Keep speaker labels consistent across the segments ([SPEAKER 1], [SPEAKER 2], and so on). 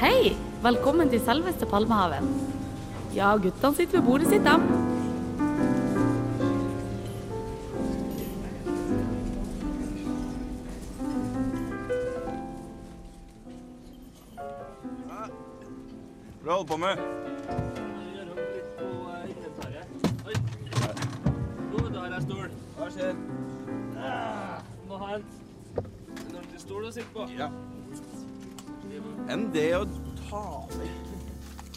[SPEAKER 1] Hei! Velkommen til selveste Palmehaven. Ja, guttene sitter ved bordet sitt, dem.
[SPEAKER 2] Hva holder du på med? Hva skjer? Ja. Enn det å ta vekk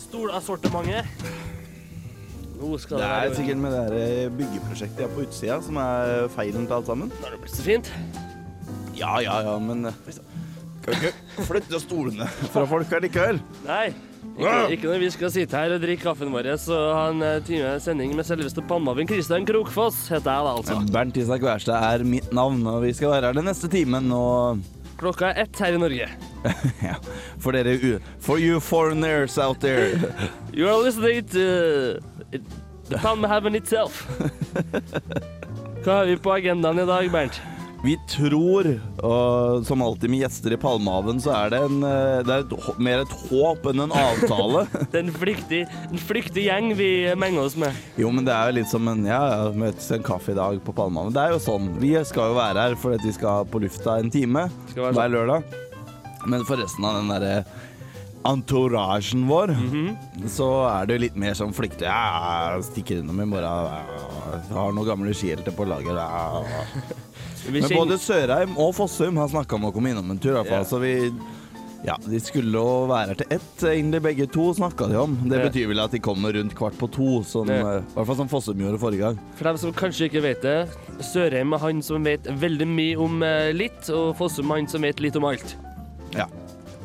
[SPEAKER 3] Stolassortimentet. Nå skal
[SPEAKER 2] Det
[SPEAKER 3] det
[SPEAKER 2] er
[SPEAKER 3] være
[SPEAKER 2] sikkert med det her eh, byggeprosjektet jeg har på utsida som er feilen til alt sammen.
[SPEAKER 3] Nå har det blitt så fint.
[SPEAKER 2] Ja, ja, ja, men eh, Kan vi ikke flytte stolene fra folk allikevel?
[SPEAKER 3] Nei. Ikke, ikke når vi skal sitte her og drikke kaffen vår og ha en eh, time sending med selveste Palmehaven. Kristian Krokfoss heter jeg da, altså.
[SPEAKER 2] Bernt Isak Wærstad er mitt navn, og vi skal være her den neste timen og
[SPEAKER 3] Klokka er ett her i Norge.
[SPEAKER 2] Ja, for dere u- For you foreigners out there.
[SPEAKER 3] You are listening to uh, it- the Palmehaven itself. Hva har vi på agendaen i dag, Bernt?
[SPEAKER 2] Vi tror, og som alltid med gjester i Palmehaven, så er det, en, eh, det er et, hå- mer et håp enn en avtale.
[SPEAKER 3] Det er en flyktig, en flyktig gjeng vi menger oss med.
[SPEAKER 2] jo, men det er jo litt som en Ja, ja, møtes til en kaffe i dag på Palmehaven. Det er jo sånn. Vi skal jo være her fordi at vi skal på lufta en time
[SPEAKER 3] Skal være
[SPEAKER 2] hver
[SPEAKER 3] sånn.
[SPEAKER 2] lørdag. Men for resten av den derre entouragen vår,
[SPEAKER 3] Mhm.
[SPEAKER 2] så er det jo litt mer sånn flyktig. Ja, ja, stikker innom i morgen. Ja, ja, har noen gamle skihjelter på lager. Ja, ja.
[SPEAKER 3] Vi
[SPEAKER 2] Men
[SPEAKER 3] kjenner-
[SPEAKER 2] både Sørheim og Fossum har snakka om å komme innom en tur. i hvert fall,
[SPEAKER 3] Ja.
[SPEAKER 2] Så vi ja, De skulle jo være her til ett, egentlig begge to, snakka de om. Det
[SPEAKER 3] Ja.
[SPEAKER 2] betyr vel at de kommer rundt kvart på to, som,
[SPEAKER 3] Ja.
[SPEAKER 2] eh, i hvert fall som Fossum gjorde forrige gang.
[SPEAKER 3] For dem som kanskje ikke vet det, Sørheim er han som vet veldig mye om eh, litt, og Fossum er han som vet litt om alt.
[SPEAKER 2] Ja.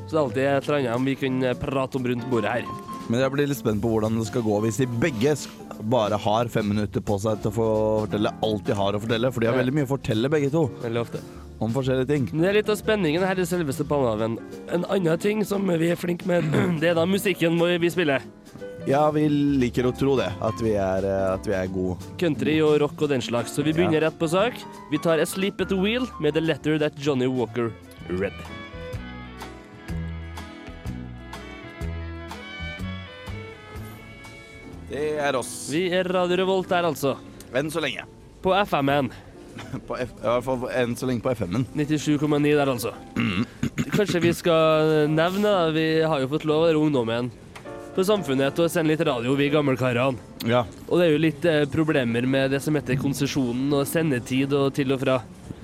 [SPEAKER 3] Så det er alltid et eller annet om vi kan eh, prate om rundt bordet her.
[SPEAKER 2] Men jeg blir litt spent på hvordan det skal gå hvis de begge sk- bare har fem minutter på seg til å få fortelle alt de har å fortelle, for de har
[SPEAKER 3] Ja.
[SPEAKER 2] veldig mye å fortelle, begge to,
[SPEAKER 3] Veldig ofte.
[SPEAKER 2] om forskjellige ting.
[SPEAKER 3] Men det er litt av spenningen her i selveste Palmehaven. En annen ting som vi er flinke med, det er da musikken vår vi spiller.
[SPEAKER 2] Ja, vi liker å tro det, at vi er, eh, at vi er gode.
[SPEAKER 3] Country og rock og den slags. Så vi begynner rett på sak. Vi tar A Sleep At The Wheel med The Letter That Johnny Walker Read.
[SPEAKER 2] Det er oss.
[SPEAKER 3] Vi er Radio Revolt der, altså.
[SPEAKER 2] Enn så lenge.
[SPEAKER 3] På FM-en.
[SPEAKER 2] På F I hvert fall enn så lenge på FM-en.
[SPEAKER 3] 97,9 der, altså. Kanskje vi skal nevne, da. Vi har jo fått lov av ungdommen på Samfunnet til å sende litt radio, vi gammelkarene.
[SPEAKER 2] Ja.
[SPEAKER 3] Og det er jo litt eh, problemer med det som heter konsesjonen og sendetid og til og fra.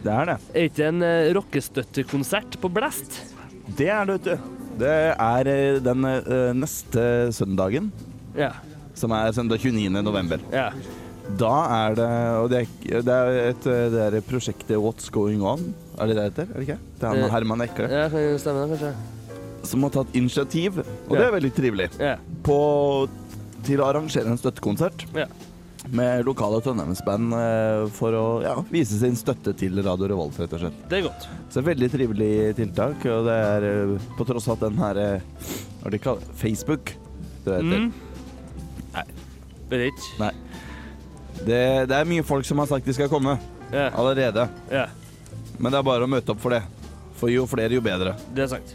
[SPEAKER 2] Det er det.
[SPEAKER 3] Er ikke en eh, rockestøttekonsert på Blast?
[SPEAKER 2] Det er det, vet du. Det er eh, den eh, neste søndagen,
[SPEAKER 3] Ja.
[SPEAKER 2] som er søndag 29. november.
[SPEAKER 3] ja.
[SPEAKER 2] Da er det Og det er, det er et eh, det er prosjektet What's Going On. Er det det det heter? Er det ikke? Det er
[SPEAKER 3] Eh,
[SPEAKER 2] han Herman Ekle
[SPEAKER 3] ja kan det stemme, det, kanskje?
[SPEAKER 2] som har tatt initiativ, og
[SPEAKER 3] Ja.
[SPEAKER 2] det er veldig trivelig,
[SPEAKER 3] Ja.
[SPEAKER 2] på, til å arrangere en støttekonsert
[SPEAKER 3] ja.
[SPEAKER 2] med lokale Trondheimsband eh, for å ja, vise sin støtte til Radio Revolt, rett og slett.
[SPEAKER 3] Det er godt.
[SPEAKER 2] Så veldig trivelig tiltak, og det er eh, på tross av at den her eh, Hva er det de kaller det? Facebook? Det, heter.
[SPEAKER 3] Mm. Nei. Vet ikke.
[SPEAKER 2] Nei. Det, det er mye folk som har sagt de skal komme
[SPEAKER 3] Ja.
[SPEAKER 2] allerede,
[SPEAKER 3] ja.
[SPEAKER 2] men det er bare å møte opp for det. For jo flere, jo bedre.
[SPEAKER 3] Det er sant.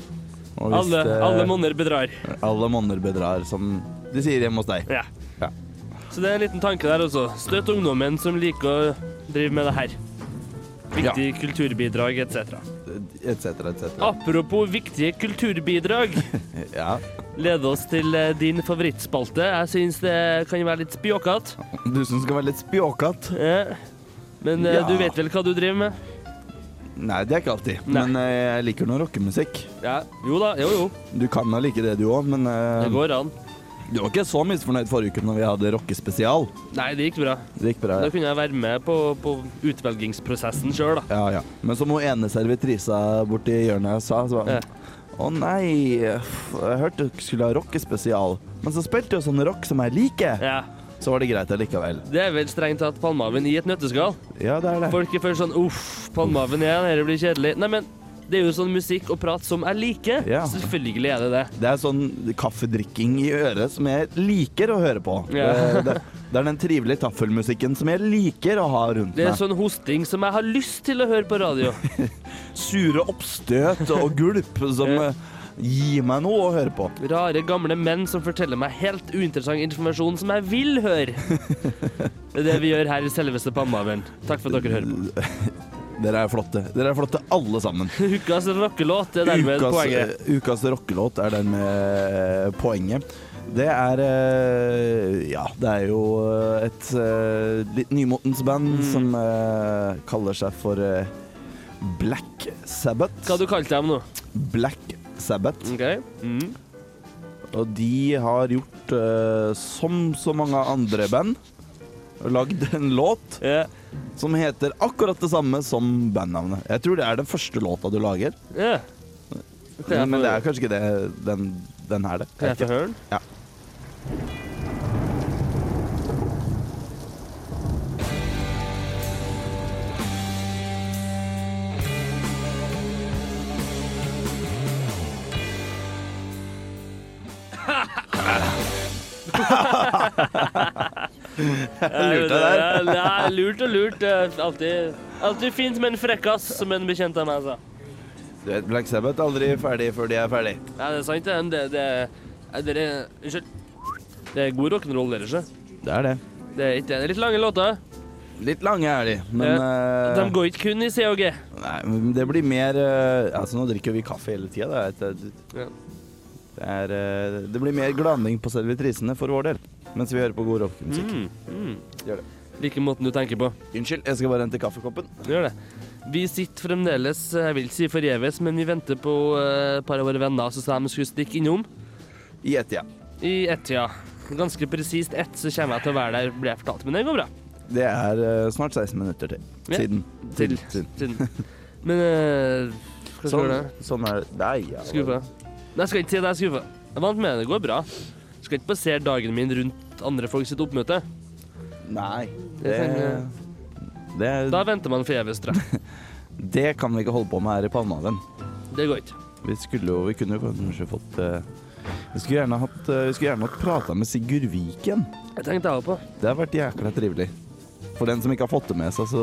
[SPEAKER 2] Og hvis
[SPEAKER 3] Alle,
[SPEAKER 2] det-
[SPEAKER 3] alle monner bedrar.
[SPEAKER 2] alle monner bedrar, som de sier hjemme hos deg.
[SPEAKER 3] Ja.
[SPEAKER 2] Ja.
[SPEAKER 3] Så det er en liten tanke der også. Støtt ungdommen som liker å drive med det her. Viktige kulturbidrag etc.
[SPEAKER 2] Etc.,
[SPEAKER 3] Ah.
[SPEAKER 2] etc.
[SPEAKER 3] Apropos viktige kulturbidrag,
[SPEAKER 2] Ja.
[SPEAKER 3] leder oss til eh, din favorittspalte. Jeg syns det kan være litt spjåkete,
[SPEAKER 2] Du som skal være litt spjåkete.
[SPEAKER 3] eh, men eh,
[SPEAKER 2] Ja.
[SPEAKER 3] du vet vel hva du driver med?
[SPEAKER 2] Nei, det er ikke alltid.
[SPEAKER 3] Nei.
[SPEAKER 2] Men eh, jeg liker noe rockemusikk.
[SPEAKER 3] Ja. Jo da, jo jo.
[SPEAKER 2] Du kan da like det, du òg, men eh,
[SPEAKER 3] Det går an.
[SPEAKER 2] du var ikke så misfornøyd forrige uke når vi hadde rockespesial.
[SPEAKER 3] Nei, det gikk bra.
[SPEAKER 2] Det gikk bra.
[SPEAKER 3] Da
[SPEAKER 2] ja.
[SPEAKER 3] kunne jeg være med på, på utvelgingsprosessen sjøl, da.
[SPEAKER 2] Ja, ja. Men som hun ene servitrisa borti hjørnet sa, så var
[SPEAKER 3] Ja.
[SPEAKER 2] hun Å nei, f- jeg hørte dere skulle ha rockespesial. Men så spilte jo sånn rock som jeg liker.
[SPEAKER 3] Ja.
[SPEAKER 2] så var det greit allikevel.
[SPEAKER 3] Det er vel strengt tatt palmehaven i et nøtteskall.
[SPEAKER 2] Ja, det er det.
[SPEAKER 3] Folk er først sånn uff, palmehaven igjen, dette blir kjedelig. Nei, men det er jo sånn musikk og prat som jeg liker.
[SPEAKER 2] Ja.
[SPEAKER 3] Selvfølgelig er det det.
[SPEAKER 2] Det er sånn kaffedrikking i øret som jeg liker å høre på.
[SPEAKER 3] Ja.
[SPEAKER 2] Det, det, det er den trivelige taffelmusikken som jeg liker å ha rundt
[SPEAKER 3] Det
[SPEAKER 2] meg.
[SPEAKER 3] er sånn hosting som jeg har lyst til å høre på radio.
[SPEAKER 2] Sure oppstøt og gulp som
[SPEAKER 3] Ja.
[SPEAKER 2] eh, gir meg noe å høre på.
[SPEAKER 3] Rare gamle menn som forteller meg helt uinteressant informasjon som jeg vil høre. Det er det vi gjør her i selveste Palmehaven. Takk for at dere hører på.
[SPEAKER 2] Dere er flotte. Dere er flotte alle sammen.
[SPEAKER 3] Ukas rockelåt er dermed
[SPEAKER 2] Ukas, eh,
[SPEAKER 3] poenget.
[SPEAKER 2] ukas rockelåt er den med poenget. Det er eh, Ja, det er jo eh, et eh, litt nymotens
[SPEAKER 3] Mm.
[SPEAKER 2] band som eh, kaller seg for eh, Black Sabbath.
[SPEAKER 3] Hva har du kalt dem nå?
[SPEAKER 2] Black Sabbath.
[SPEAKER 3] Ok? Mm.
[SPEAKER 2] Og de har gjort, eh, som så mange andre band, lagd en låt
[SPEAKER 3] Ja.
[SPEAKER 2] som heter akkurat det samme som bandnavnet. Jeg tror det er den første låta du lager,
[SPEAKER 3] Ja. Kan jeg
[SPEAKER 2] men
[SPEAKER 3] få-
[SPEAKER 2] det er kanskje ikke det, den, den her, det.
[SPEAKER 3] Kan jeg få høre den?
[SPEAKER 2] Ja.
[SPEAKER 3] Jeg
[SPEAKER 2] lurte deg der.
[SPEAKER 3] Nei, lurt og lurt. eh, Alltid, alltid fint med en frekkas, som en bekjent av meg altså. sa.
[SPEAKER 2] Du vet, Black Sabbath er aldri ferdig før de er ferdig.
[SPEAKER 3] Nei, det er sant, det. det, det er dere Unnskyld. Det er god rock'n'roll, dere, ikke?
[SPEAKER 2] Det er det.
[SPEAKER 3] Det er ikke det. Det er litt lange låter.
[SPEAKER 2] Litt lange er de, men
[SPEAKER 3] De
[SPEAKER 2] eh,
[SPEAKER 3] går ikke kun i C og G.
[SPEAKER 2] nei, men det blir mer eh, Altså, nå drikker vi kaffe hele tida. Det, er et-
[SPEAKER 3] Ja.
[SPEAKER 2] det, er, eh, det blir mer glaning på servitrisene for vår del mens vi hører på god rockmusikk.
[SPEAKER 3] Mm, mm.
[SPEAKER 2] Gjør det.
[SPEAKER 3] Like måten du tenker på.
[SPEAKER 2] Unnskyld, jeg skal bare hente kaffekoppen.
[SPEAKER 3] Gjør det. Vi sitter fremdeles, jeg vil ikke si forgjeves, men vi venter på eh, et par av våre venner som sa de skulle stikke innom.
[SPEAKER 2] I ett, ja.
[SPEAKER 3] I ett-tida. Ganske presist ett så kommer jeg til å være der, ble jeg fortalt. Men det går bra.
[SPEAKER 2] Det er eh, snart 16 minutter til.
[SPEAKER 3] Ja.
[SPEAKER 2] Siden.
[SPEAKER 3] Til.
[SPEAKER 2] Siden.
[SPEAKER 3] Siden. Men eh, Hva skal
[SPEAKER 2] Sånn,
[SPEAKER 3] du gjøre?
[SPEAKER 2] sånn er det. Nei, ja.
[SPEAKER 3] Skuffa. Nei, jeg skal ikke si at jeg er skuffa. Jeg vant med det. Det går bra. Jeg skal ikke basere dagen min rundt andre folk sitt oppmøte.
[SPEAKER 2] Nei. Det,
[SPEAKER 3] Jeg
[SPEAKER 2] det,
[SPEAKER 3] Da venter man forgjeves, tror jeg.
[SPEAKER 2] det kan vi ikke holde på med her i Palmehaven.
[SPEAKER 3] Det går ikke.
[SPEAKER 2] Vi skulle jo Vi kunne jo kanskje fått eh, Vi skulle gjerne hatt, eh, vi skulle gjerne hatt prata med Sigurd Viken.
[SPEAKER 3] Jeg tenkte jeg var på.
[SPEAKER 2] Det har vært jækla trivelig. For den som ikke har fått det med seg, så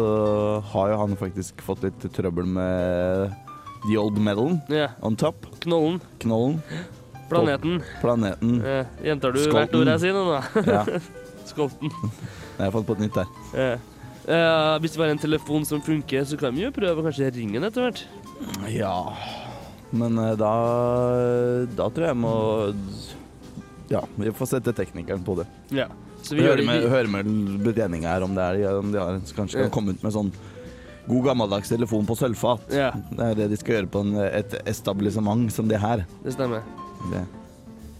[SPEAKER 2] har jo han faktisk fått litt trøbbel med the old medalen
[SPEAKER 3] Ja.
[SPEAKER 2] on top.
[SPEAKER 3] Knollen.
[SPEAKER 2] Knollen.
[SPEAKER 3] Planeten.
[SPEAKER 2] Planeten.
[SPEAKER 3] Eh, gjentar du hvert
[SPEAKER 2] Skolten.
[SPEAKER 3] ord jeg sier nå, da?
[SPEAKER 2] Ja,
[SPEAKER 3] Skolten.
[SPEAKER 2] jeg har fått på et nytt der.
[SPEAKER 3] Eh. Eh, hvis det var en telefon som funker, så kan vi jo prøve å kanskje ringe den etter hvert.
[SPEAKER 2] Ja Men eh, da Da tror jeg jeg må Ja, vi får sette teknikeren på det.
[SPEAKER 3] Ja. Så vi
[SPEAKER 2] Vi
[SPEAKER 3] gjør
[SPEAKER 2] hører
[SPEAKER 3] det.
[SPEAKER 2] med, hører med betjeninga her om det er om de har, kanskje
[SPEAKER 3] Ja.
[SPEAKER 2] kan komme ut med sånn god gammeldags telefon på sølvfat.
[SPEAKER 3] Ja.
[SPEAKER 2] Det er det de skal gjøre på en, et establissement som det her.
[SPEAKER 3] Det stemmer.
[SPEAKER 2] Det,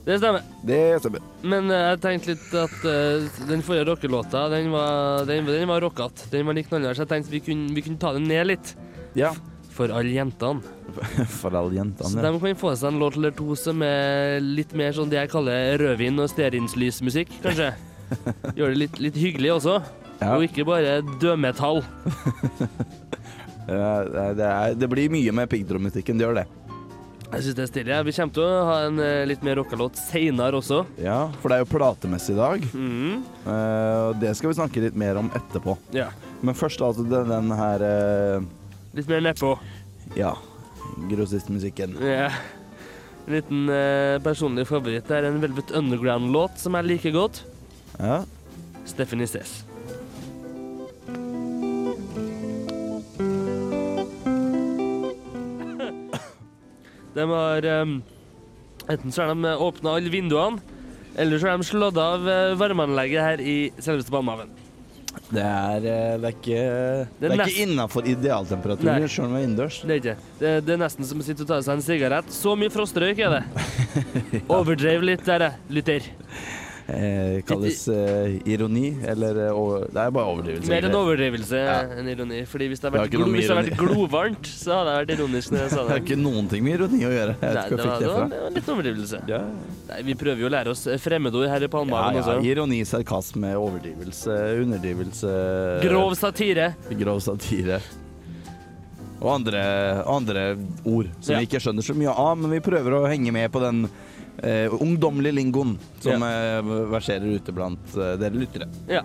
[SPEAKER 3] Det stemmer.
[SPEAKER 2] det stemmer.
[SPEAKER 3] Men eh, jeg tenkte litt at eh, den forrige rockelåta, den var, den, den var rockete. Den var litt knallhard, så jeg tenkte vi kunne, vi kunne ta den ned litt.
[SPEAKER 2] Ja.
[SPEAKER 3] For alle jentene.
[SPEAKER 2] For alle
[SPEAKER 3] Så
[SPEAKER 2] jentene.
[SPEAKER 3] de kan få seg en låt eller to som er litt mer sånn det jeg kaller rødvin- og stearinslysmusikk, kanskje. Gjør det litt, litt hyggelig også.
[SPEAKER 2] Ja.
[SPEAKER 3] Og ikke bare dødmetall.
[SPEAKER 2] Eh, Det, er- det, er, det blir mye med piggtrådmusikken, det gjør det.
[SPEAKER 3] Jeg syns det er stilig. Vi kommer til å ha en eh, litt mer rockelåt seinere også.
[SPEAKER 2] Ja, For det er jo platemessig i dag.
[SPEAKER 3] Mhm.
[SPEAKER 2] Eh, og det skal vi snakke litt mer om etterpå.
[SPEAKER 3] Ja.
[SPEAKER 2] Men først altså den, den her eh,
[SPEAKER 3] Litt mer nedpå.
[SPEAKER 2] Ja, grossistmusikken.
[SPEAKER 3] Ja. En liten eh, personlig favoritt er en Velvet Underground-låt som jeg liker godt.
[SPEAKER 2] Ja.
[SPEAKER 3] Stephanie Cess. De har um, Enten så har de åpna alle vinduene, eller så har de slått av eh, varmeanlegget her i selveste Palmehaven.
[SPEAKER 2] Det er, eh, det er ikke, det
[SPEAKER 3] Det er
[SPEAKER 2] er
[SPEAKER 3] nest-
[SPEAKER 2] ikke innafor idealtemperaturen,
[SPEAKER 3] Nei.
[SPEAKER 2] sjøl om det er innendørs.
[SPEAKER 3] Det er ikke. Det, det er nesten som å sitte og ta seg en sigarett. Så mye frostrøyk er det. Overdrev litt der, jeg, eh, lytter.
[SPEAKER 2] eh, kalles eh, ironi, eller eh, over, Det er bare overdrivelse.
[SPEAKER 3] Mer en
[SPEAKER 2] egentlig.
[SPEAKER 3] overdrivelse
[SPEAKER 2] Ja.
[SPEAKER 3] enn ironi. Fordi hvis
[SPEAKER 2] Det
[SPEAKER 3] det hadde
[SPEAKER 2] har
[SPEAKER 3] vært,
[SPEAKER 2] ikke noe
[SPEAKER 3] glo,
[SPEAKER 2] med
[SPEAKER 3] hvis det hadde vært
[SPEAKER 2] ironi.
[SPEAKER 3] glovarmt, så hadde jeg vært ironisk når jeg sa
[SPEAKER 2] Det
[SPEAKER 3] det.
[SPEAKER 2] har ikke noen ting med ironi å gjøre. Jeg
[SPEAKER 3] Nei,
[SPEAKER 2] vet ikke hvor jeg
[SPEAKER 3] det var,
[SPEAKER 2] fikk
[SPEAKER 3] det
[SPEAKER 2] det
[SPEAKER 3] var,
[SPEAKER 2] fra.
[SPEAKER 3] det var litt overdrivelse.
[SPEAKER 2] Ja,
[SPEAKER 3] Nei, vi prøver jo å lære oss eh, fremmedord her i altså.
[SPEAKER 2] ja,
[SPEAKER 3] Palmehaven
[SPEAKER 2] ja.
[SPEAKER 3] også.
[SPEAKER 2] Ironi, sarkasme, overdrivelse, underdrivelse eh,
[SPEAKER 3] Grov satire.
[SPEAKER 2] grov satire. Og andre, andre ord som
[SPEAKER 3] Ja.
[SPEAKER 2] vi ikke skjønner så mye av, men vi prøver å henge med på den eh, ungdommelige lingoen som eh, verserer ute blant eh, dere lyttere.
[SPEAKER 3] Ja.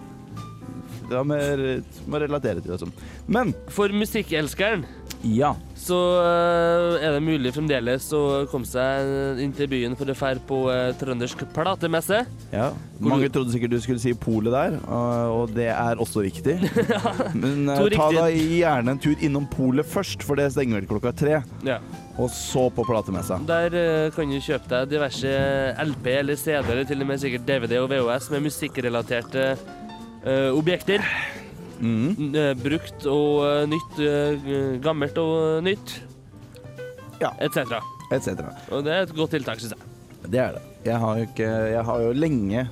[SPEAKER 2] Det har med med å relatere til det som. Men
[SPEAKER 3] For musikkelskeren
[SPEAKER 2] ja.
[SPEAKER 3] så eh, er det mulig fremdeles å komme seg eh, inn til byen for å fære på eh, trøndersk platemesse.
[SPEAKER 2] ja. Mange trodde sikkert du skulle si polet der, og, og det er også riktig. Men eh,
[SPEAKER 3] To
[SPEAKER 2] ta
[SPEAKER 3] riktige.
[SPEAKER 2] da gjerne en tur innom polet først, for det stenger vel klokka tre.
[SPEAKER 3] Ja.
[SPEAKER 2] Og så på platemessa.
[SPEAKER 3] Der eh, kan du kjøpe deg diverse LP eller CD, eller til og med sikkert DVD og VHS med musikkrelaterte eh, objekter.
[SPEAKER 2] Mhm.
[SPEAKER 3] N- eh, brukt og eh, nytt, eh, gammelt og nytt,
[SPEAKER 2] Ja.
[SPEAKER 3] etc.
[SPEAKER 2] Etc.
[SPEAKER 3] Og det er et godt tiltak, syns jeg.
[SPEAKER 2] Det er det. Jeg har jo ikke Jeg har jo lenge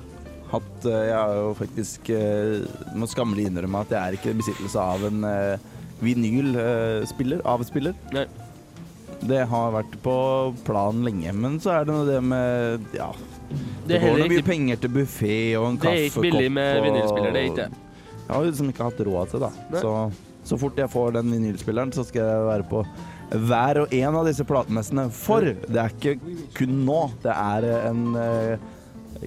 [SPEAKER 2] hatt eh, Jeg har jo faktisk eh, Må skammelig innrømme at jeg er ikke i besittelse av en eh, vinylspiller. Avspiller.
[SPEAKER 3] Nei.
[SPEAKER 2] Det har vært på planen lenge, men så er det noe det med Ja.
[SPEAKER 3] Det
[SPEAKER 2] Det,
[SPEAKER 3] er
[SPEAKER 2] går
[SPEAKER 3] heller
[SPEAKER 2] nå mye
[SPEAKER 3] ikke,
[SPEAKER 2] penger til buffé og en
[SPEAKER 3] det
[SPEAKER 2] kaffekopp
[SPEAKER 3] er ikke billig med
[SPEAKER 2] og-
[SPEAKER 3] vinylspiller, det er ikke det.
[SPEAKER 2] Jeg har jo liksom ikke hatt råd til det,
[SPEAKER 3] Nei.
[SPEAKER 2] da. Så, så fort jeg får den vinylspilleren, så skal jeg være på hver og en av disse platemessene. For
[SPEAKER 3] Mm.
[SPEAKER 2] det er ikke kun nå. Det er en eh,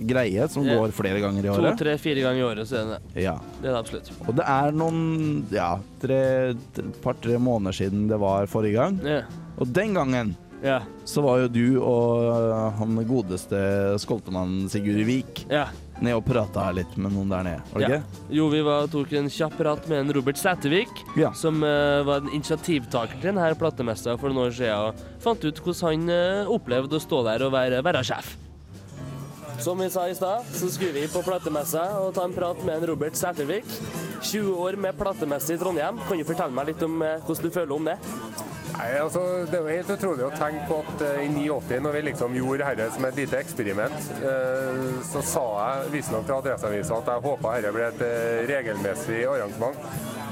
[SPEAKER 2] greie som
[SPEAKER 3] Ja.
[SPEAKER 2] går flere ganger i
[SPEAKER 3] To,
[SPEAKER 2] året.
[SPEAKER 3] tre, fire ganger i året, så er det det.
[SPEAKER 2] Ja.
[SPEAKER 3] Det er det absolutt.
[SPEAKER 2] Og det er noen ja, tre- t- et par-tre måneder siden det var forrige gang.
[SPEAKER 3] Ja.
[SPEAKER 2] Og den gangen
[SPEAKER 3] Ja.
[SPEAKER 2] så var jo du og eh, han godeste skoltemannen Sigurd Vik
[SPEAKER 3] ja.
[SPEAKER 2] nede og prata litt med noen der nede, var det
[SPEAKER 3] ja.
[SPEAKER 2] ikke?
[SPEAKER 3] Jo, vi var, tok en kjapp prat med en Robert Sætervik.
[SPEAKER 2] Ja.
[SPEAKER 3] som eh, var en initiativtaker til denne platemessa for noen år siden, og fant ut hvordan han eh, opplevde å stå der og være, være sjef. Som vi sa i stad, så skulle vi på platemessa og ta en prat med en Robert Sætervik. 20 år med platemesse i Trondheim. Kan du fortelle meg litt om eh, hvordan du føler om det?
[SPEAKER 4] Nei, altså, Det er jo helt utrolig å tenke på at eh, i 89, når vi liksom gjorde dette som et lite eksperiment, eh, så sa jeg visstnok til Adresseavisa at jeg håpa dette ble et eh, regelmessig arrangement.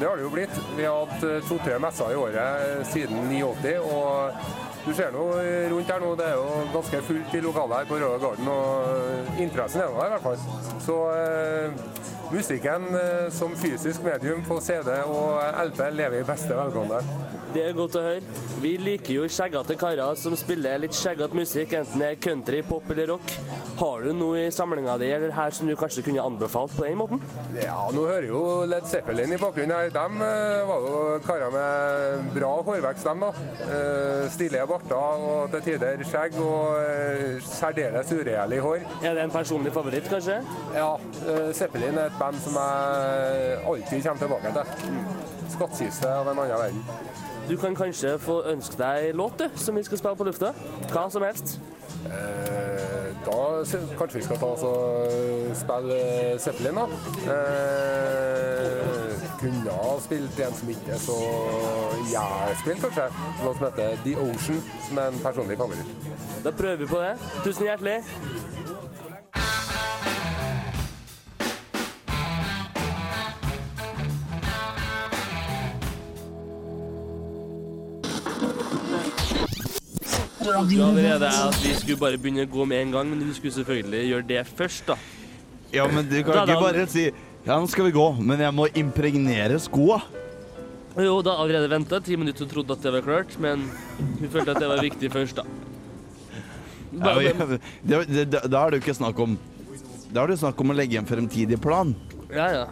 [SPEAKER 4] Det har det jo blitt. Vi har hatt eh, to-tre messer i året eh, siden 89. og du ser nå eh, rundt her nå, det er jo ganske fullt i lokalet her på Røde Garden, og eh, interessen er nå der i hvert fall. Så eh, musikken eh, som fysisk medium på CD og LP lever i beste velgående.
[SPEAKER 3] Det er godt å høre. Vi liker jo skjeggete karer som spiller litt skjeggete musikk, enten det er country, pop eller rock. Har du noe i samlinga di eller her som du kanskje kunne anbefalt på den måten?
[SPEAKER 4] Ja, nå hører jo Led Zeppelin i bakgrunnen her. De eh, var jo karer med bra hårvekst, dem da. Eh, Stille barter og til tider skjegg og eh, særdeles uregjerlig hår.
[SPEAKER 3] Er det en personlig favoritt, kanskje?
[SPEAKER 4] Ja, eh, Zeppelin er et band som jeg alltid kommer tilbake til. Skattkiste av en annen verden.
[SPEAKER 3] Du kan kanskje få ønske deg låt, du, som vi skal spille på lufta. Hva som helst.
[SPEAKER 4] Eh, Da sy- kanskje vi skal ta oss og spille eh, Zeppelin, da. Eh, kunne ha spilt en som ikke er så jævspilt, kanskje. Noe som heter The Ocean, som er en personlig favoritt.
[SPEAKER 3] Da prøver vi på det. Tusen hjertelig. Allerede er at Vi skulle bare begynne å gå med en gang, men du skulle selvfølgelig gjøre det først. da.
[SPEAKER 2] Ja, men du
[SPEAKER 3] Da-
[SPEAKER 2] kan
[SPEAKER 3] da-
[SPEAKER 2] ikke bare si Ja, nå skal vi gå, men jeg må impregnere skoa.
[SPEAKER 3] Og Jo, da allerede venta ti minutter og trodde at det var klart, men vi følte at det var viktig først, da.
[SPEAKER 2] Ja,
[SPEAKER 3] Bare,
[SPEAKER 2] men- det, det, da- da er det jo ikke snakk om Da er det jo snakk om å legge en fremtidig plan.
[SPEAKER 3] ja, ja.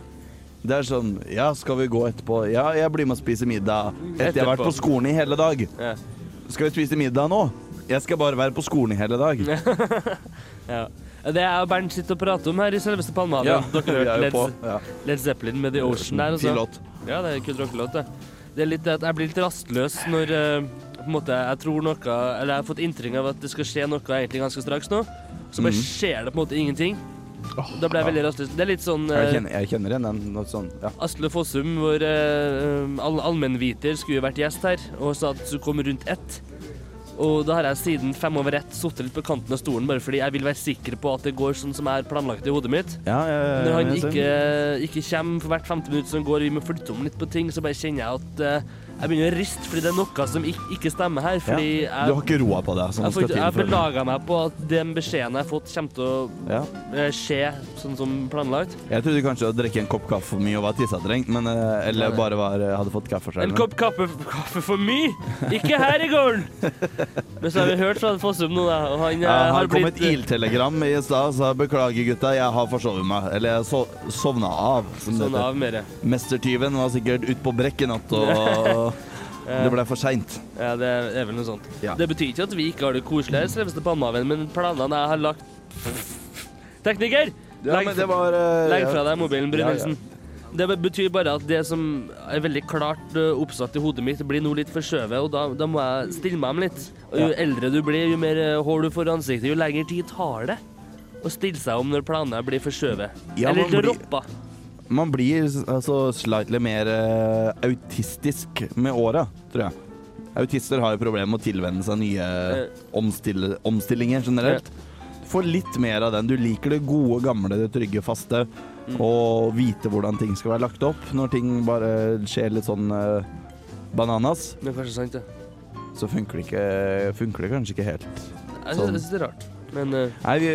[SPEAKER 2] Det er sånn Ja, skal vi gå etterpå? Ja, jeg blir med og spiser middag. Etter jeg har vært
[SPEAKER 3] Etterpå.
[SPEAKER 2] på skolen i hele dag.
[SPEAKER 3] ja.
[SPEAKER 2] Skal vi spise middag nå? Jeg skal bare være på skolen i hele dag.
[SPEAKER 3] Ja. Det er jo Bernt sitter og prater om her i selveste Palmaden. Dere
[SPEAKER 2] vi
[SPEAKER 3] har
[SPEAKER 2] er jo
[SPEAKER 3] hørt
[SPEAKER 2] på.
[SPEAKER 3] Led,
[SPEAKER 2] Ja.
[SPEAKER 3] Led Zeppelin med The Ocean der.
[SPEAKER 2] Fin
[SPEAKER 3] Altså.
[SPEAKER 2] låt.
[SPEAKER 3] Ja, det er en kul rockelåt, det. Det er litt det at jeg blir litt rastløs når eh, på en måte, jeg tror noe Eller jeg har fått inntrykk av at det skal skje noe egentlig ganske straks nå. Så bare
[SPEAKER 2] Mhm.
[SPEAKER 3] skjer det på en måte ingenting. Da blir jeg veldig rastløs. Det er litt sånn
[SPEAKER 2] Jeg
[SPEAKER 3] eh,
[SPEAKER 2] kjenner, jeg kjenner igjen den. Noe sånn. Ja.
[SPEAKER 3] Asle Fossum, vår eh, all allmennviter, skulle jo vært gjest her og sa at hun kom rundt ett. Og da har jeg siden fem over ett sittet litt på kanten av stolen bare fordi jeg vil være sikker på at det går sånn som jeg har planlagt det i hodet mitt.
[SPEAKER 2] Ja, ja, ja,
[SPEAKER 3] Når han
[SPEAKER 2] Eh, jeg ser.
[SPEAKER 3] ikke, ikke kommer for hvert femte minutt som går, vi må flytte om litt på ting, så bare kjenner jeg at eh, jeg begynner å riste fordi det er noe som ikke, ikke stemmer her. Fordi
[SPEAKER 2] Du har
[SPEAKER 3] jeg,
[SPEAKER 2] ikke roa på deg, som
[SPEAKER 3] jeg,
[SPEAKER 2] skal
[SPEAKER 3] får-
[SPEAKER 2] til
[SPEAKER 3] jeg
[SPEAKER 2] for
[SPEAKER 3] belaga meg på at den beskjeden jeg har fått, kommer til å
[SPEAKER 2] Ja.
[SPEAKER 3] eh, skje sånn som planlagt.
[SPEAKER 2] Jeg trodde kanskje å drikke en kopp kaffe for mye og var tissetrengt, men eh, Eller
[SPEAKER 3] Nei.
[SPEAKER 2] bare var, hadde fått
[SPEAKER 3] En
[SPEAKER 2] kaffeskjermen.
[SPEAKER 3] kopp kaffe, kaffe for mye? Ikke her i gården! Men så har vi hørt fra Fossum nå, da. Og han eh,
[SPEAKER 2] Ja,
[SPEAKER 3] har
[SPEAKER 2] han kom
[SPEAKER 3] blitt
[SPEAKER 2] et iltelegram i stad og sa 'beklager, gutta, jeg har forsovet meg'. Eller jeg sov, sovna av, som det
[SPEAKER 3] sånn
[SPEAKER 2] heter.
[SPEAKER 3] av mere.
[SPEAKER 2] Mestertyven var sikkert ute på brekk i natt, og det ble for seint.
[SPEAKER 3] Ja, det er vel noe sånt.
[SPEAKER 2] Ja.
[SPEAKER 3] Det betyr ikke at vi ikke har det koselig her, Strømstad Palmehaven, men planene jeg har lagt Tekniker!
[SPEAKER 2] Ja,
[SPEAKER 3] legg,
[SPEAKER 2] men det var eh,
[SPEAKER 3] legg
[SPEAKER 2] ja.
[SPEAKER 3] fra deg mobilen,
[SPEAKER 2] Ja, ja.
[SPEAKER 3] Brynildsen. Det betyr bare at det som er veldig klart ø, oppsatt i hodet mitt, blir nå litt forskjøvet, og da, da må jeg stille meg om litt. Og jo
[SPEAKER 2] Ja.
[SPEAKER 3] eldre du blir, jo mer ø, hår du får i ansiktet, jo lengre tid tar det å stille seg om når planene blir forskjøvet.
[SPEAKER 2] Ja,
[SPEAKER 3] Eller
[SPEAKER 2] man blir-
[SPEAKER 3] droppa.
[SPEAKER 2] Man blir altså slightly mer eh, autistisk med åra, tror jeg. Autister har jo problemer med å tilvenne seg nye
[SPEAKER 3] Eh.
[SPEAKER 2] omstille- omstillinger generelt. Du får litt mer av den. Du liker det gode, gamle, det trygge, faste.
[SPEAKER 3] Mm.
[SPEAKER 2] Og vite hvordan ting skal være lagt opp når ting bare skjer litt sånn eh, bananas.
[SPEAKER 3] Det er kanskje sant, det.
[SPEAKER 2] Så funker det, ikke, funker det kanskje ikke helt.
[SPEAKER 3] Jeg
[SPEAKER 2] Sånn.
[SPEAKER 3] syns det er rart. Men ø,
[SPEAKER 2] Nei, vi,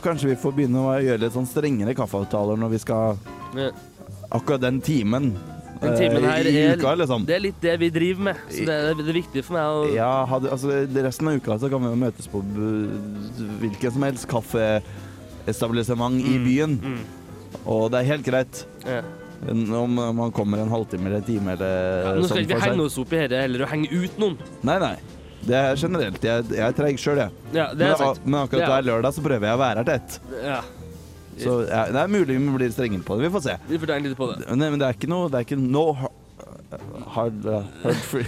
[SPEAKER 2] kanskje vi får begynne å gjøre litt sånn strengere kaffeavtaler når vi skal
[SPEAKER 3] ja.
[SPEAKER 2] akkurat den timen.
[SPEAKER 3] Den
[SPEAKER 2] eh,
[SPEAKER 3] timen her
[SPEAKER 2] i, i
[SPEAKER 3] er,
[SPEAKER 2] uka, liksom.
[SPEAKER 3] det er litt det vi driver med, så det er, det er viktig for meg å
[SPEAKER 2] Ja, hadde, altså det- resten av uka så kan vi jo møtes på bu- hvilken som helst kaffeestablissement i byen.
[SPEAKER 3] mm.
[SPEAKER 2] Og det er helt greit
[SPEAKER 3] ja.
[SPEAKER 2] om man kommer en halvtime eller en time eller
[SPEAKER 3] Nå skal
[SPEAKER 2] sånn for
[SPEAKER 3] ikke vi
[SPEAKER 2] seg.
[SPEAKER 3] henge oss opp i dette heller og henge ut noen.
[SPEAKER 2] Nei, nei. Det er generelt. Jeg, jeg er treig sjøl, jeg.
[SPEAKER 3] Ja, det
[SPEAKER 2] Men,
[SPEAKER 3] er sant.
[SPEAKER 2] men akkurat
[SPEAKER 3] Det er-
[SPEAKER 2] hver lørdag så prøver jeg å være her til ett.
[SPEAKER 3] Ja,
[SPEAKER 2] Så ja, det er mulig vi blir strengere på det. Vi får se.
[SPEAKER 3] vi får tenke litt på det.
[SPEAKER 2] Men, men det er ikke noe Det er ikke no har- hard, uh, hard free.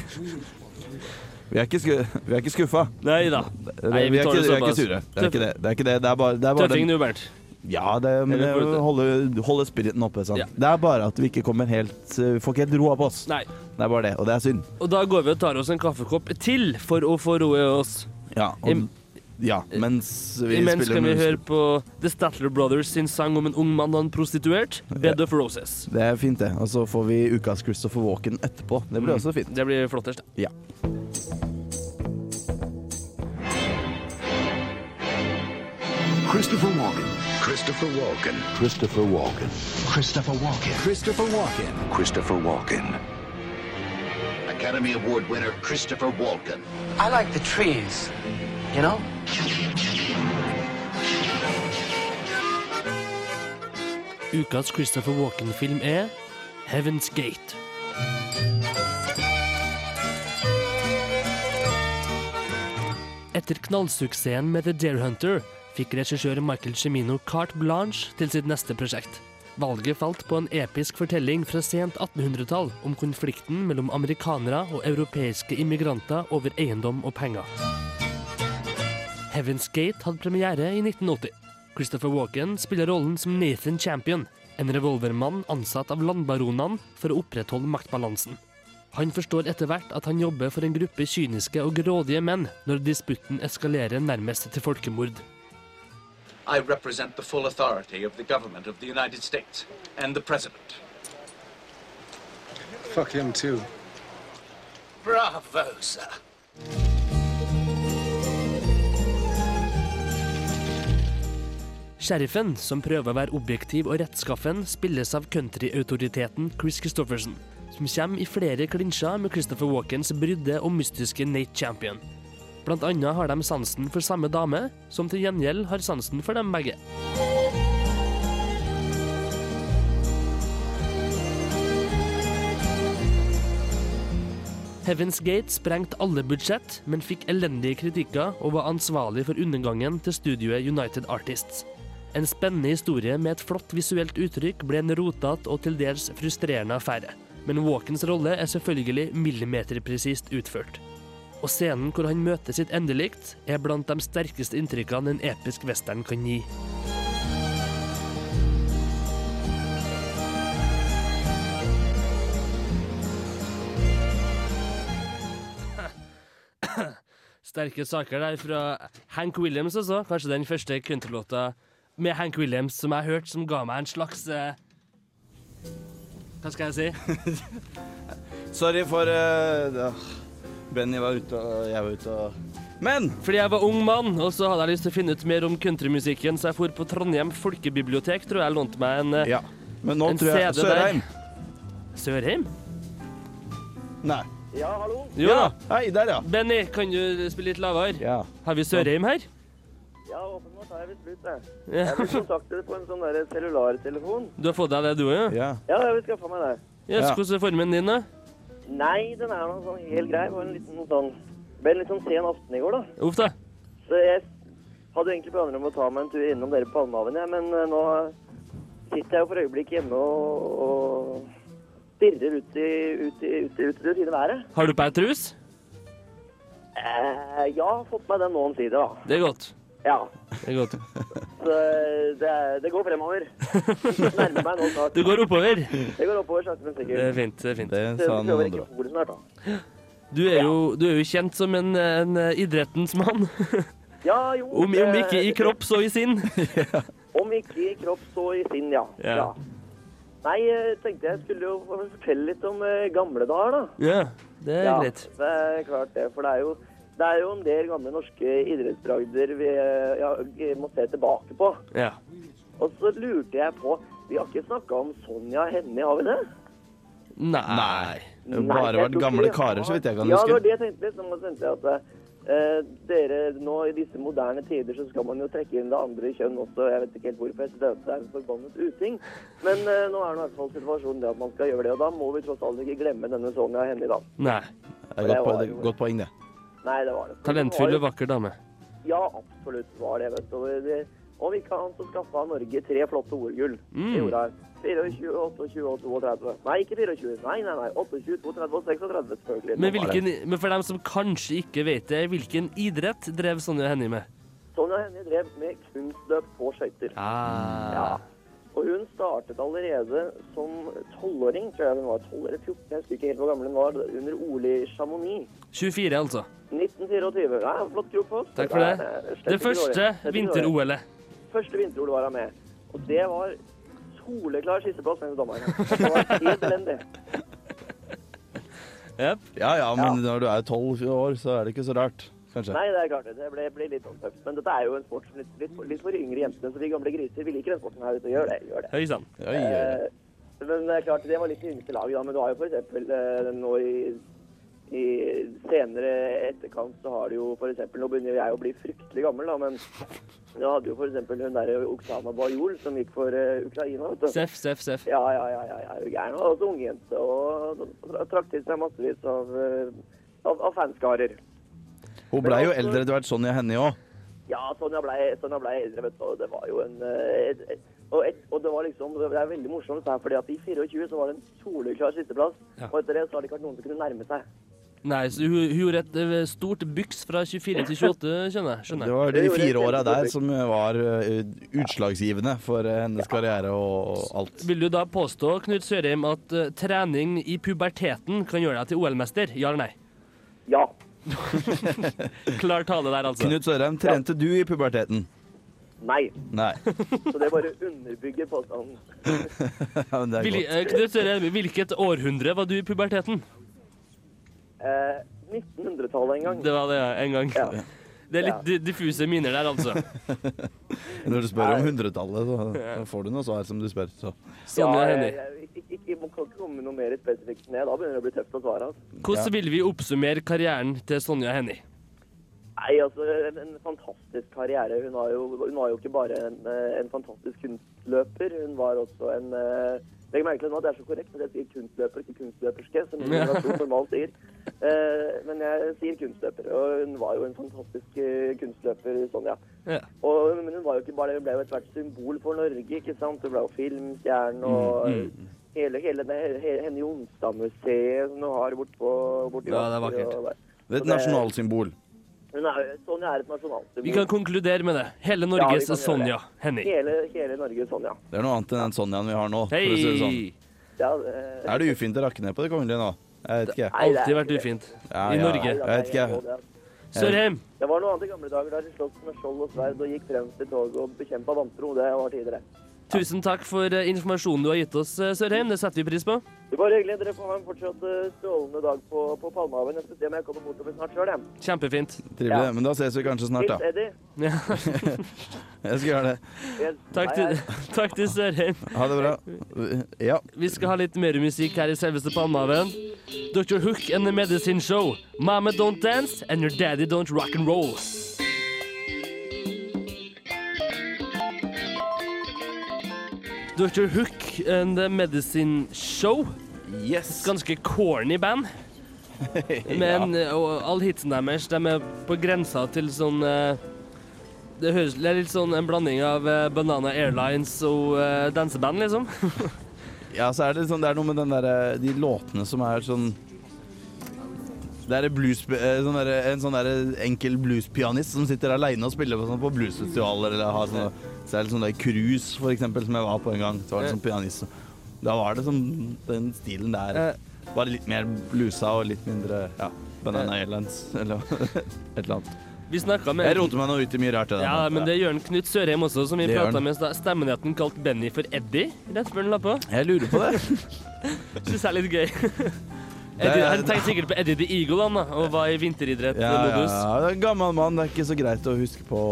[SPEAKER 2] Vi er ikke, sku, vi er ikke skuffa.
[SPEAKER 3] Nei da. Nei,
[SPEAKER 2] vi,
[SPEAKER 3] vi
[SPEAKER 2] er
[SPEAKER 3] tar
[SPEAKER 2] ikke, vi er ikke
[SPEAKER 3] det såpass.
[SPEAKER 2] sure. Det er ikke det. Det er, ikke det. Det er bare, det er bare den-
[SPEAKER 3] Tøffing nå, Bernt.
[SPEAKER 2] Ja, det, men det
[SPEAKER 3] Eller prøvde.
[SPEAKER 2] holder, holder spiriten oppe. Sant?
[SPEAKER 3] Ja.
[SPEAKER 2] Det er bare at vi ikke kommer helt eh, Vi får ikke helt roa på oss.
[SPEAKER 3] Nei.
[SPEAKER 2] Det er bare det, og det er synd.
[SPEAKER 3] Og da går vi og tar oss en kaffekopp til for å få roe oss.
[SPEAKER 2] Ja,
[SPEAKER 3] Im-
[SPEAKER 2] og, ja mens vi
[SPEAKER 3] Imens
[SPEAKER 2] spiller
[SPEAKER 3] kan vi
[SPEAKER 2] mus-
[SPEAKER 3] høre på The Statler Brothers sin sang om en ung mann og en prostituert. Bed of Roses.
[SPEAKER 2] Det er fint, det. Og så får vi ukas Christopher Walken etterpå. Det blir også fint.
[SPEAKER 3] Det blir flottest.
[SPEAKER 2] Mm.
[SPEAKER 3] det.
[SPEAKER 2] Ja.
[SPEAKER 5] Christopher Walken. Christopher Walken. Christopher Walken. Christopher Walken. Christopher Walken. Christopher Walken. Academy Award winner Christopher Walken.
[SPEAKER 6] I like the trees, you know?
[SPEAKER 3] Ukas Christopher Walken-film er Heaven's Gate. Etter knallsuksessen med The Dare Hunter fikk regissør Michael Cimino carte blanche til sitt neste prosjekt. Valget falt på en episk fortelling fra sent 1800-tall om konflikten mellom amerikanere og europeiske immigranter over eiendom og penger. Heaven's Gate hadde premiere i 1980. Christopher Walken spiller rollen som Nathan Champion, en revolvermann ansatt av landbaronene for å opprettholde maktbalansen. Han forstår etter hvert at han jobber for en gruppe kyniske og grådige menn når disputten eskalerer nærmest til folkemord.
[SPEAKER 7] I represent the full authority of the government of the United States and the president.
[SPEAKER 8] Fuck him too.
[SPEAKER 7] Bravo, sir.
[SPEAKER 3] Sheriffen, som prøver å være objektiv og rettskaffen, spilles av countryautoriteten Chris Christofferson, som kommer i flere klinsjer med Christopher Walkens brydde og mystiske Nate Champion. Blant annet har de sansen for samme dame, som til gjengjeld har sansen for dem begge. Heaven's Gate sprengte alle budsjett, men fikk elendige kritikker og var ansvarlig for undergangen til studioet United Artists. En spennende historie med et flott visuelt uttrykk ble en rotete og til dels frustrerende affære. Men Walkens rolle er selvfølgelig millimeterpresist utført. Og scenen hvor han møter sitt endelikt, er blant de sterkeste inntrykkene en episk western kan gi. Sterke saker der fra Hank Williams, altså. Kanskje den første countrylåta med Hank Williams som jeg hørte, som ga meg en slags eh, Hva skal jeg si?
[SPEAKER 2] Sorry for eh, det- Benny var ute, og jeg var ute og Men!
[SPEAKER 3] Fordi jeg var ung mann, og så hadde jeg lyst til å finne ut mer om countrymusikken, så jeg for på Trondheim folkebibliotek, tror jeg jeg lånte meg en eh,
[SPEAKER 2] Ja. Men nå
[SPEAKER 3] En
[SPEAKER 2] tror jeg
[SPEAKER 3] CD der.
[SPEAKER 2] Sørheim.
[SPEAKER 3] Sørheim.
[SPEAKER 2] Nei.
[SPEAKER 3] Jo da.
[SPEAKER 2] Hei, der, ja.
[SPEAKER 3] Benny, kan du spille litt lavere?
[SPEAKER 2] Ja.
[SPEAKER 3] Har vi Sørheim her?
[SPEAKER 8] Ja, åpenbart er jeg blitt slutt, jeg.
[SPEAKER 3] Ja.
[SPEAKER 8] Jeg blir kontaktet på en sånn der cellulartelefon.
[SPEAKER 3] Du har fått deg det, du òg?
[SPEAKER 2] ja.
[SPEAKER 8] Ja, jeg vil skaffe meg det.
[SPEAKER 3] Yes,
[SPEAKER 2] Ja.
[SPEAKER 3] hvordan er formen din, da?
[SPEAKER 8] Nei, den er noe sånn helt grei. Var en liten sånn... Ble en litt sånn sen aften i går, da.
[SPEAKER 3] Uff da.
[SPEAKER 8] Så jeg hadde egentlig planer om å ta meg en tur innom dere på Palmehaven, jeg, men eh, nå sitter jeg jo for øyeblikk hjemme og, og stirrer ut i, ut i, ut i, ut i det fine været.
[SPEAKER 3] Har du på deg trus?
[SPEAKER 8] Eh, ja, fått meg den nå omsider, da.
[SPEAKER 3] Det er godt.
[SPEAKER 8] Ja,
[SPEAKER 3] Det er godt.
[SPEAKER 8] så eh, det, er- det går fremover. Nærmer meg nå snart.
[SPEAKER 3] Du går oppover.
[SPEAKER 8] Det går oppover sakte, men
[SPEAKER 3] Det er
[SPEAKER 8] sikkert.
[SPEAKER 3] fint. det er fint.
[SPEAKER 2] Det
[SPEAKER 8] Så
[SPEAKER 2] sa
[SPEAKER 8] jeg
[SPEAKER 2] noen
[SPEAKER 8] prøver ikke
[SPEAKER 2] andre
[SPEAKER 8] å pole snart, da.
[SPEAKER 3] Du er jo, du er jo kjent som en, en idrettens mann.
[SPEAKER 8] Ja, jo.
[SPEAKER 3] Om, om
[SPEAKER 8] det-
[SPEAKER 3] ikke i kropp, så i sinn.
[SPEAKER 8] Om ikke i kropp, så i sinn, ja.
[SPEAKER 3] Ja.
[SPEAKER 8] ja. Nei, jeg tenkte jeg skulle jo fortelle litt om eh, gamle dager, da.
[SPEAKER 3] Ja, det er greit.
[SPEAKER 8] det er klart det. For det er jo, det er jo en del gamle norske idrettsbragder vi eh, ja, må se tilbake på.
[SPEAKER 3] Ja.
[SPEAKER 8] Og så lurte jeg på Vi har ikke snakka om Sonja Hennie, har vi det?
[SPEAKER 3] Nei.
[SPEAKER 2] Det har bare
[SPEAKER 8] jeg
[SPEAKER 2] vært
[SPEAKER 8] tror ikke
[SPEAKER 2] gamle
[SPEAKER 8] vi
[SPEAKER 2] karer,
[SPEAKER 8] har-
[SPEAKER 2] så vidt jeg kan
[SPEAKER 8] ja, det
[SPEAKER 2] huske.
[SPEAKER 8] var det jeg tenkte litt. Nå tenkte jeg at eh, dere, nå i disse moderne tider så skal man jo trekke inn det andre kjønn også. Jeg vet ikke helt hvorfor. Jeg synes det er en forbannet uting. Men eh, nå er det i hvert fall situasjonen det at man skal gjøre det. Og da må vi tross alt ikke glemme denne Sonja Hennie, da.
[SPEAKER 3] Nei.
[SPEAKER 2] Det er godt,
[SPEAKER 8] var
[SPEAKER 2] poeng-
[SPEAKER 8] jo-
[SPEAKER 2] godt poeng, det.
[SPEAKER 8] Nei, det var det.
[SPEAKER 3] Talentfull
[SPEAKER 8] Det
[SPEAKER 3] og
[SPEAKER 8] var,
[SPEAKER 3] vakker dame.
[SPEAKER 8] Ja, absolutt var det. vet du. Og det- Om ikke annet så skaffa Norge tre flotte OL-gull. Det gjorde han. 24, 28 og 32. Nei, ikke 24. Nei, nei, nei. 28, 32 og 36, selvfølgelig.
[SPEAKER 3] Men,
[SPEAKER 8] Det var det.
[SPEAKER 3] hvilken, men for dem som kanskje ikke vet det, hvilken idrett drev Sonja Hennie med?
[SPEAKER 8] Sonja Hennie drev med kunstløp på skøyter.
[SPEAKER 3] Ah.
[SPEAKER 8] Og hun startet allerede som tolvåring, tror jeg hun var. 12 eller 14, jeg husker ikke helt hvor gammel hun var. Under Ole i Chamonix.
[SPEAKER 3] 24, altså.
[SPEAKER 8] 1924. Nei, flott krok på oss.
[SPEAKER 3] Takk for det.
[SPEAKER 8] er, eh, slett
[SPEAKER 3] Det
[SPEAKER 8] ikke
[SPEAKER 3] første
[SPEAKER 8] dårlig. Slett ikke dårlig.
[SPEAKER 3] vinter-OL-et.
[SPEAKER 8] Første vinter-OL var han med. Og det var soleklar sisteplass mellom dommerne. Det var helt elendig.
[SPEAKER 3] Yep.
[SPEAKER 2] Ja ja, men når du er tolv år, så er det ikke så rart. Kanskje.
[SPEAKER 8] Nei, det er klart det. Det ble, ble litt sånn tøft. Men dette er jo en sport som litt, litt, for- litt for yngre jentene, så vi gamle griser, vi liker den sporten her ute. Gjør det, gjør det.
[SPEAKER 3] Høy sann.
[SPEAKER 2] Oi, oi, oi.
[SPEAKER 8] Eh, Men det er klart, det var litt i yngste laget da, men du har jo for eksempel eh, nå i, i senere etterkant så har du jo for eksempel, nå begynner jeg å bli fryktelig gammel da, men jeg hadde jo for eksempel hun der Oksana Bajol som gikk for eh, Ukraina, vet du.
[SPEAKER 3] Seff, seff, seff.
[SPEAKER 8] Ja, ja, ja, ja, jeg er jo gæren. Og også ungjente, og tra- trakk til seg massevis av, eh, av, av fanskarer.
[SPEAKER 2] Hun blei jo eldre etter hvert, Sonja Hennie òg.
[SPEAKER 8] Ja, sånn Sonja blei Sonja blei eldre, vet du, og det var jo en eh, et, et, og, et, og det var liksom Det er veldig morsomt, det her, fordi at i 24 så var det en soleklar sisteplass,
[SPEAKER 3] Ja.
[SPEAKER 8] og etter det så har det ikke vært noen som kunne nærme seg.
[SPEAKER 3] Nei, så hun, hun gjorde et eh, stort byks fra 24 til 28, skjønner jeg.
[SPEAKER 2] Det
[SPEAKER 3] Skjønner jeg.
[SPEAKER 2] var de
[SPEAKER 8] Det gjorde
[SPEAKER 2] fire
[SPEAKER 8] et
[SPEAKER 2] åra
[SPEAKER 8] kjempegodt
[SPEAKER 2] der
[SPEAKER 8] trykk.
[SPEAKER 2] som var eh, utslagsgivende for eh, hennes karriere og og alt.
[SPEAKER 3] Vil du da påstå, Knut Sørheim, at eh, trening i puberteten kan gjøre deg til OL-mester? Ja eller nei?
[SPEAKER 8] Ja.
[SPEAKER 3] Klar tale der, altså.
[SPEAKER 2] Knut Sørheim, trente du i puberteten?
[SPEAKER 8] Nei.
[SPEAKER 2] Nei.
[SPEAKER 8] Så det bare underbygger påstanden.
[SPEAKER 2] Ja, men det er
[SPEAKER 3] Vil,
[SPEAKER 2] godt.
[SPEAKER 3] eh, Knut Sørheim, hvilket århundre var du i puberteten?
[SPEAKER 8] Eh, 1900-tallet en gang.
[SPEAKER 3] Det var det, ja. En gang.
[SPEAKER 8] Ja.
[SPEAKER 3] Det er litt di- diffuse minner der, altså.
[SPEAKER 2] Når du spør om hundretallet, så får du noe svar som du spør. Så.
[SPEAKER 3] Sonja
[SPEAKER 8] jeg,
[SPEAKER 3] Hennie.
[SPEAKER 8] jeg, jeg, jeg, jeg må kan ikke komme med noe mer spesifikt enn det. Da begynner det å bli tøft å svare. Altså.
[SPEAKER 3] Hvordan vil vi oppsummere karrieren til Sonja Hennie?
[SPEAKER 8] Nei, altså, en, en fantastisk karriere. Hun var jo, hun var jo ikke bare en, eh, en fantastisk kunstløper, hun var også en eh, Legg merke til nå at jeg er så korrekt når jeg sier kunstløper, ikke kunstløperske, som min generasjon normalt sier. Eh, men jeg sier kunstløper, og hun var jo en fantastisk eh, kunstløper, Sonja.
[SPEAKER 3] Ja.
[SPEAKER 8] Og, men hun var jo ikke bare det, hun ble jo et hvert symbol for Norge, ikke sant? Hun ble jo
[SPEAKER 3] Mm,
[SPEAKER 8] filmstjerne og hele, hele det he- Henny Jonstad-museet som hun har borte på bort i
[SPEAKER 3] Ja, det er
[SPEAKER 8] Vadsø
[SPEAKER 3] vakkert.
[SPEAKER 8] og der.
[SPEAKER 2] Det er
[SPEAKER 8] Så
[SPEAKER 2] et nasjonalsymbol.
[SPEAKER 8] hun er, Sonja er et nasjonalsymbol.
[SPEAKER 3] Vi kan konkludere med det. Hele
[SPEAKER 8] Ja, vi
[SPEAKER 3] Norges
[SPEAKER 8] kan gjøre
[SPEAKER 3] Sonja
[SPEAKER 8] det.
[SPEAKER 3] Hennie.
[SPEAKER 8] Hele, hele sånn, Norges Sonja.
[SPEAKER 2] Det er noe annet enn den Sonjaen vi har nå. For å si det sånn.
[SPEAKER 3] Hei!
[SPEAKER 8] Ja, eh,
[SPEAKER 2] Er det ufint å rakke ned på det kongelige nå? Jeg vet ikke.
[SPEAKER 8] Nei, det er
[SPEAKER 3] Alltid vært
[SPEAKER 8] ikke det.
[SPEAKER 3] ufint.
[SPEAKER 2] Ja, ja.
[SPEAKER 3] I Norge.
[SPEAKER 2] Jeg vet ikke.
[SPEAKER 3] Sørheim.
[SPEAKER 8] Det var noe annet i gamle dager der de sloss med skjold og sverd og gikk fremst i toget og bekjempa vantro. Det var tidligere.
[SPEAKER 3] Tusen takk for eh, informasjonen du har gitt oss, eh, Sørheim. Det setter vi pris på.
[SPEAKER 8] Det var hyggelig. Dere får ha en fortsatt eh, strålende dag på, på Palmehaven. Jeg skal se om jeg kommer bortover snart sjøl, jeg.
[SPEAKER 3] Kjempefint.
[SPEAKER 2] Trivelig. Men da ses vi kanskje snart,
[SPEAKER 8] Hils
[SPEAKER 2] da.
[SPEAKER 8] Eddie.
[SPEAKER 3] Ja.
[SPEAKER 2] Jeg skal gjøre det.
[SPEAKER 8] Yes.
[SPEAKER 3] Takk,
[SPEAKER 8] Hei, hei.
[SPEAKER 3] til, takk til Sørheim.
[SPEAKER 2] Ha det bra. Ja.
[SPEAKER 3] Vi skal ha litt mer musikk her i selveste Palmehaven. Dr. Hook and the Medicine Show. Mama don't dance and your daddy don't rock and roll. Dr. Hook and the Medicine Show.
[SPEAKER 2] Yes.
[SPEAKER 3] Ganske corny band. Men eh, og alle hitsene deres de er på grensa til sånn eh, Det høres det er litt sånn en blanding av eh, Banana Airlines og eh, danseband, liksom.
[SPEAKER 2] Ja, så er det, sånn, det er noe med den der, de låtene som er sånn det er en blues, eh, sånn der, en sånn der enkel bluespianist som sitter aleine og spiller på, sånn, på bluesfestivaler. Eller har sånn, så er det sånn der Cruise, for eksempel, som jeg var på en gang. Så var det sånn pianist. Da var det sånn den stilen
[SPEAKER 3] Eh.
[SPEAKER 2] der. Bare litt mer bluesa og litt mindre ja, Banana
[SPEAKER 3] Eh.
[SPEAKER 2] Islands eller et eller annet.
[SPEAKER 3] Vi snakka med
[SPEAKER 2] Jeg roter meg nå ut i mye rart. i det
[SPEAKER 3] Eh. Ja,
[SPEAKER 2] nå.
[SPEAKER 3] men det gjør han Knut Sørheim også, som vi
[SPEAKER 2] Det gjør
[SPEAKER 3] prata
[SPEAKER 2] han.
[SPEAKER 3] med. i stad. Stemmen er at han kalte Benny for Eddie rett før han la på.
[SPEAKER 2] Jeg lurer på det.
[SPEAKER 3] Syns jeg er litt gøy. Eddie, han tenkte sikkert på Eddie the Eagle han da, og var
[SPEAKER 2] Ja,
[SPEAKER 3] i
[SPEAKER 2] ja,
[SPEAKER 3] vinteridrettmodus.
[SPEAKER 2] ja. Det er en gammel mann, det er ikke så greit å huske på,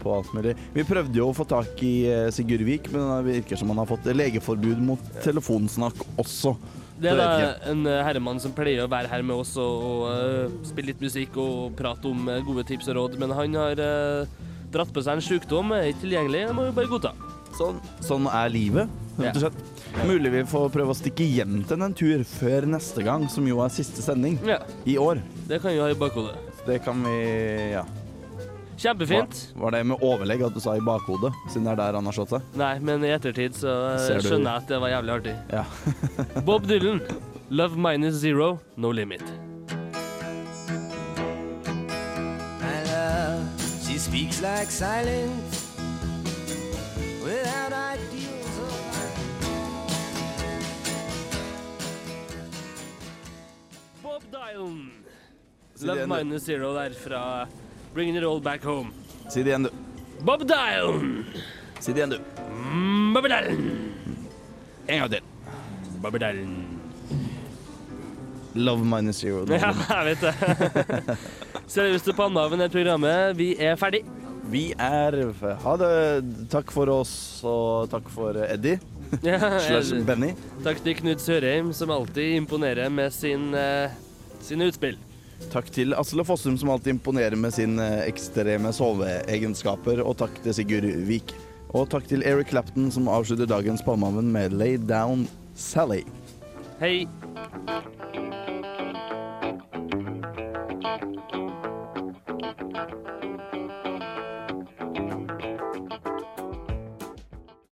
[SPEAKER 2] på alt mulig. Vi prøvde jo å få tak i eh, Sigurd Vik, men det virker som han har fått legeforbud mot telefonsnakk også.
[SPEAKER 3] Det er da
[SPEAKER 2] vet
[SPEAKER 3] en eh, herremann som pleier å være her med oss og, og eh, spille litt musikk og prate om eh, gode tips og råd, men han har eh, dratt på seg en sykdom, er ikke tilgjengelig, det må vi bare godta.
[SPEAKER 2] Sånn, sånn er livet, rett og
[SPEAKER 3] Ja.
[SPEAKER 2] slett. Mulig vi får prøve å stikke hjem til en tur før neste gang, som jo er siste sending
[SPEAKER 3] Ja,
[SPEAKER 2] i år.
[SPEAKER 3] det kan vi ha i bakhodet.
[SPEAKER 2] Det kan vi Ja.
[SPEAKER 3] Kjempefint.
[SPEAKER 2] Var, var det med overlegg at du sa i bakhodet, siden det er der han har slått seg?
[SPEAKER 3] Nei, men i ettertid så eh,
[SPEAKER 2] Ser du-
[SPEAKER 3] skjønner jeg at det var jævlig artig.
[SPEAKER 2] Ja.
[SPEAKER 3] Bob Dylan, Love Minus Zero, No Limit.
[SPEAKER 9] My love, she speaks like silence without ideals of
[SPEAKER 3] Bob Dylan,
[SPEAKER 2] Si det
[SPEAKER 3] Love
[SPEAKER 2] igjen, du.
[SPEAKER 3] Minus Zero der fra Bringing It All Back Home.
[SPEAKER 2] Si det igjen, du.
[SPEAKER 3] Bob Dylan!
[SPEAKER 2] Si det igjen, du.
[SPEAKER 3] Bob Dylan!
[SPEAKER 2] En gang til.
[SPEAKER 3] Bob Dylan.
[SPEAKER 2] Love minus zero.
[SPEAKER 3] Ja, jeg vet det. Seriøst, Palmehaven er programmet. Vi er ferdig.
[SPEAKER 2] Vi er Ha det. Takk for oss, og takk for Eddie.
[SPEAKER 3] Ja,
[SPEAKER 2] Slash
[SPEAKER 3] jeg-
[SPEAKER 2] Benny.
[SPEAKER 3] Takk til Knut Sørheim, som alltid imponerer med sin, eh, sine utspill.
[SPEAKER 2] Takk til Asle Fossum, som alltid imponerer med sine ekstreme soveegenskaper. Og takk til Sigurd Vik. Og takk til Eric Clapton, som avslutter dagens Palmehaven med Lay Down Sally.
[SPEAKER 3] Hei.